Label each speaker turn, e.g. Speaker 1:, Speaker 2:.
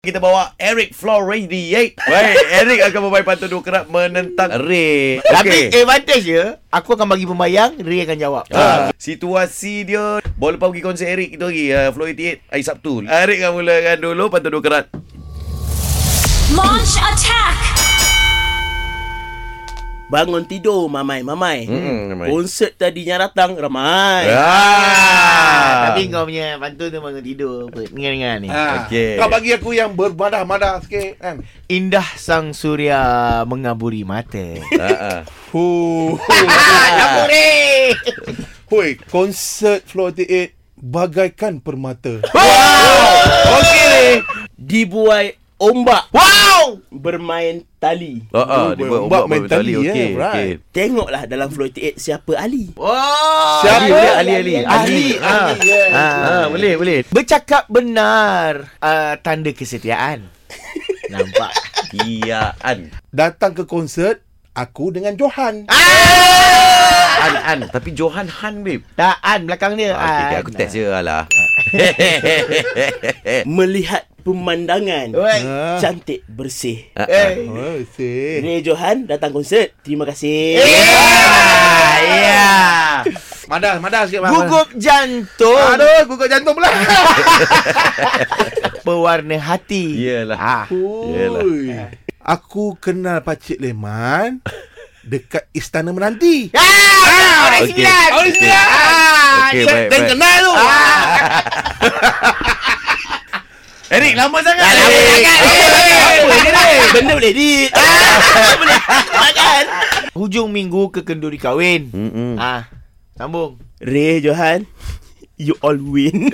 Speaker 1: Kita bawa Eric Floridiate. Baik, Eric akan bermain pantun dua kerap menentang Ray.
Speaker 2: Tapi
Speaker 1: Okey.
Speaker 2: okay. advantage dia Aku akan bagi pembayang Ray akan jawab ha.
Speaker 1: Ha, situasi dia Bola lepas pergi konsert Eric Kita pergi uh, Floridiate hari Sabtu Eric akan mulakan dulu Pantun dua kerat
Speaker 3: Launch attack!
Speaker 4: Bangun tidur mamai mamai.
Speaker 1: Hmm, mamai. Ya.
Speaker 4: Konsert tadinya datang ramai.
Speaker 1: ah.
Speaker 2: Tapi kau punya pantun tu bangun tidur apa? Dengar-dengar ni
Speaker 5: Ha.
Speaker 1: Okey.
Speaker 5: Kau bagi aku yang bermadah-madah sikit kan.
Speaker 2: Indah sang surya mengaburi mata
Speaker 1: Ah, ah.
Speaker 5: Hu.
Speaker 2: Apa Ray?
Speaker 5: Hui, konsert Floor 88 bagaikan permata.
Speaker 1: Okey
Speaker 4: Dibuai ombak
Speaker 2: Wow
Speaker 4: bermain tali.
Speaker 1: Ah, ah, dia buat ombak
Speaker 5: main
Speaker 1: mentali.
Speaker 5: tali,
Speaker 1: Okey,
Speaker 5: yeah, right.
Speaker 1: okey.
Speaker 4: Tengoklah dalam Floyd 8 siapa Ali.
Speaker 2: Oh
Speaker 5: Siapa?
Speaker 1: Ali, Ali,
Speaker 2: Ali,
Speaker 1: Ali.
Speaker 2: Ah.
Speaker 5: Ali, yeah.
Speaker 2: Ah, ah, Boleh boleh Bercakap benar uh, Tanda kesetiaan Nampak
Speaker 1: Kiaan.
Speaker 5: Datang ke konsert aku dengan Johan.
Speaker 1: Ah. An, an. Tapi Johan Han, babe.
Speaker 2: Taan belakang dia
Speaker 1: Ah, Okey, okay, aku test je lah. Hehehe.
Speaker 4: Melihat pemandangan Ah.
Speaker 2: Weh
Speaker 4: cantik bersih.
Speaker 1: Ah, ah.
Speaker 2: Eh
Speaker 5: Oh, see.
Speaker 4: Ray Johan datang konsert. Terima kasih.
Speaker 1: Eh.
Speaker 2: Ah, Ya
Speaker 5: Madah, madah sikit
Speaker 1: Ah.
Speaker 5: bang.
Speaker 2: Gugup jantung
Speaker 5: Aduh, gugup jantung pula.
Speaker 2: Pewarna hati
Speaker 1: Yelah.
Speaker 2: ah.
Speaker 1: Yelah.
Speaker 5: Hui. Aku kenal Pakcik Leman dekat Istana Menanti.
Speaker 2: Ah, orang
Speaker 1: Okey.
Speaker 2: sembilan. Ah,
Speaker 1: Orang sembilan. Okey, baik, baik.
Speaker 2: kenal tu. Ah,
Speaker 1: Eric, lama sangat.
Speaker 2: lama sangat.
Speaker 4: Apa ni, Ray? Benda boleh di. Ah, boleh. Makan.
Speaker 2: Hujung minggu ke kenduri kahwin.
Speaker 1: Mm-mm.
Speaker 4: Hmm.
Speaker 2: Ah, sambung.
Speaker 4: Ray Johan, you all win.